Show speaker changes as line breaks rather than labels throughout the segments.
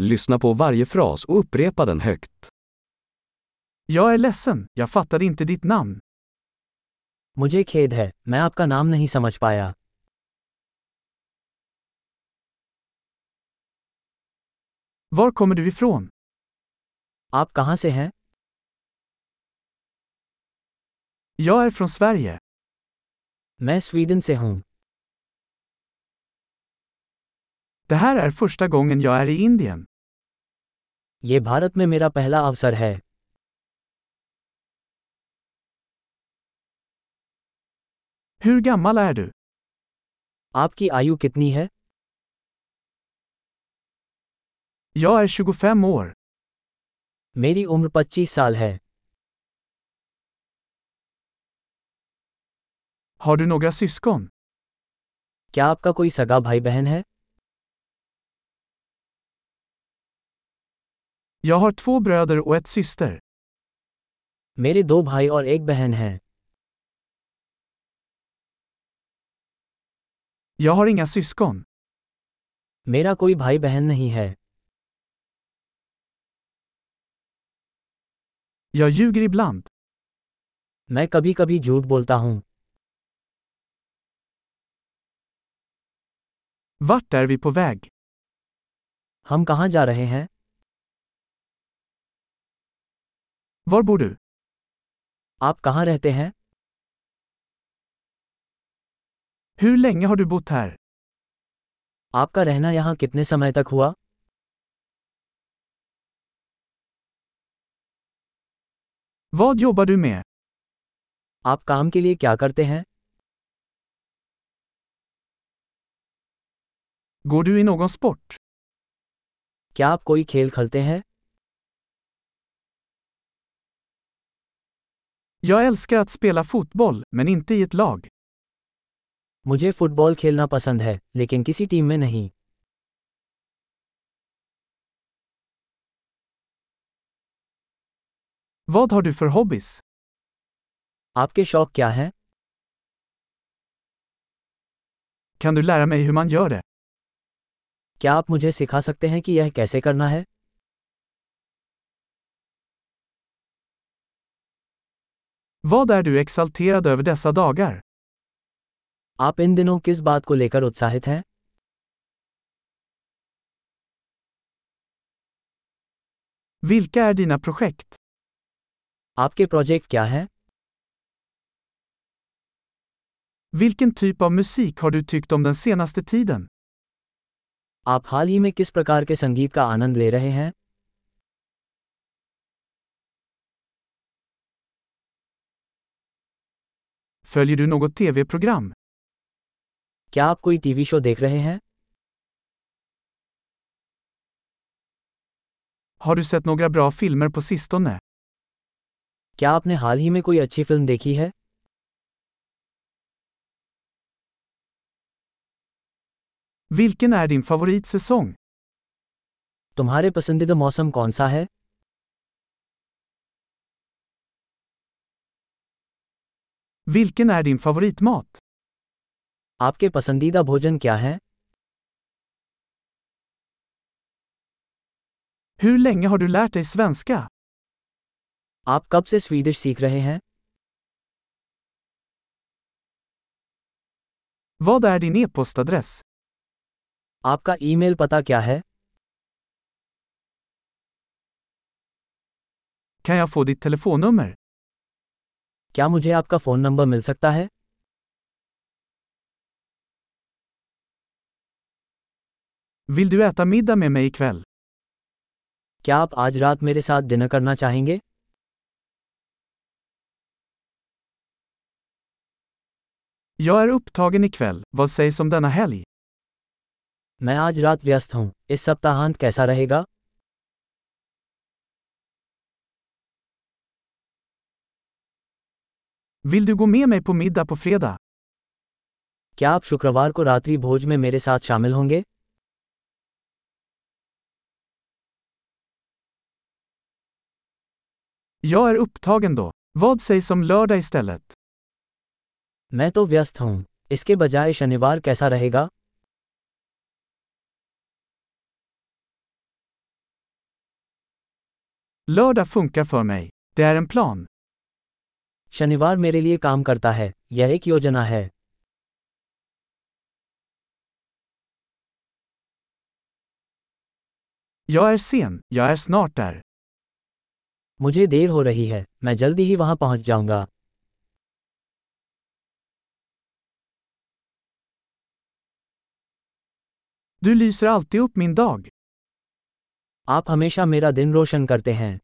Lyssna på varje fras och upprepa den högt.
Jag är ledsen, jag fattade inte ditt namn.
मुझे खेद है मैं आपका नाम नहीं समझ पाया
Var kommer du ifrån?
आप कहाँ से हैं
Jag är från Sverige.
मैं स्वीडन से हूँ
Det här är första gången jag är i Indien.
ये भारत में मेरा पहला अवसर है
Hur gammal är du?
आपकी आयु कितनी है
Jag är 25 år.
मेरी उम्र 25 साल है
Har du några syskon?
क्या आपका कोई सगा भाई बहन है
Jag har två bröder och ett syster.
मेरे दो भाई और एक बहन है
Jag har inga syskon.
मेरा कोई भाई बहन नहीं है
Jag ljuger ibland.
मैं कभी कभी झूठ बोलता हूँ
Vart är vi på väg?
हम कहाँ जा रहे हैं
Var bor du?
आप कहाँ रहते हैं
Hur länge har du bott här?
आपका रहना यहाँ कितने समय तक हुआ
Vad jobbar du med?
आप काम के लिए क्या करते हैं
Går du i någon sport?
क्या आप कोई खेल खेलते हैं
Jag älskar att spela fotboll, men inte i ett lag.
मुझे फुटबॉल खेलना पसंद है लेकिन किसी टीम में नहीं
Vad har du för hobbys?
आपके शौक क्या हैं
Kan du lära mig hur man gör det?
क्या आप मुझे सिखा सकते हैं कि यह कैसे करना है
Vad är du exalterad över dessa dagar?
आप इन दिनों किस बात को लेकर उत्साहित हैं
Vilka är dina projekt?
आपके प्रोजेक्ट क्या हैं
Vilken typ av musik har du tyckt om den senaste tiden?
आप हाल ही में किस प्रकार के संगीत का आनंद ले रहे हैं
Följer du något tv-program?
क्या आप कोई टीवी शो देख रहे हैं
Har du sett några bra filmer på sistone?
क्या आपने हाल ही में कोई अच्छी फिल्म देखी है
Vilken är din favoritsäsong?
तुम्हारे पसंदीदा मौसम कौन सा है
Vilken är din favoritmat?
आपके पसंदीदा भोजन क्या है
Hur länge har du lärt dig svenska?
आप कब से स्वीडिश सीख रहे हैं
Vad är din e-postadress?
आपका ईमेल पता क्या है
Kan jag få ditt telefonnummer?
क्या मुझे आपका फ़ोन नंबर मिल सकता है
Vill du äta middag med mig ikväll?
क्या आप आज रात मेरे साथ डिनर करना चाहेंगे
Jag är upptagen ikväll, vad sägs om denna helg?
मैं आज रात व्यस्त हूँ इस सप्ताहांत कैसा रहेगा
Vill du gå med mig på middag på fredag?
क्या आप शुक्रवार को रात्रि भोज में मेरे साथ शामिल होंगे
Jag är upptagen då. Vad sägs om lördag istället?
मैं तो व्यस्त हूँ इसके बजाय शनिवार कैसा रहेगा
Lördag funkar för mig. Det är en plan.
शनिवार मेरे लिए काम करता है यह एक योजना है
Jag är sen, jag är snart där.
मुझे देर हो रही है मैं जल्दी ही वहां पहुंच जाऊंगा
Du lyser alltid upp min dag.
आप हमेशा मेरा दिन रोशन करते हैं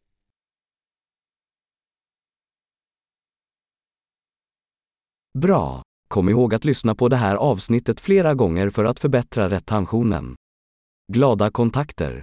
Bra! Kom ihåg att lyssna på det här avsnittet flera gånger för att förbättra retentionen. Glada kontakter!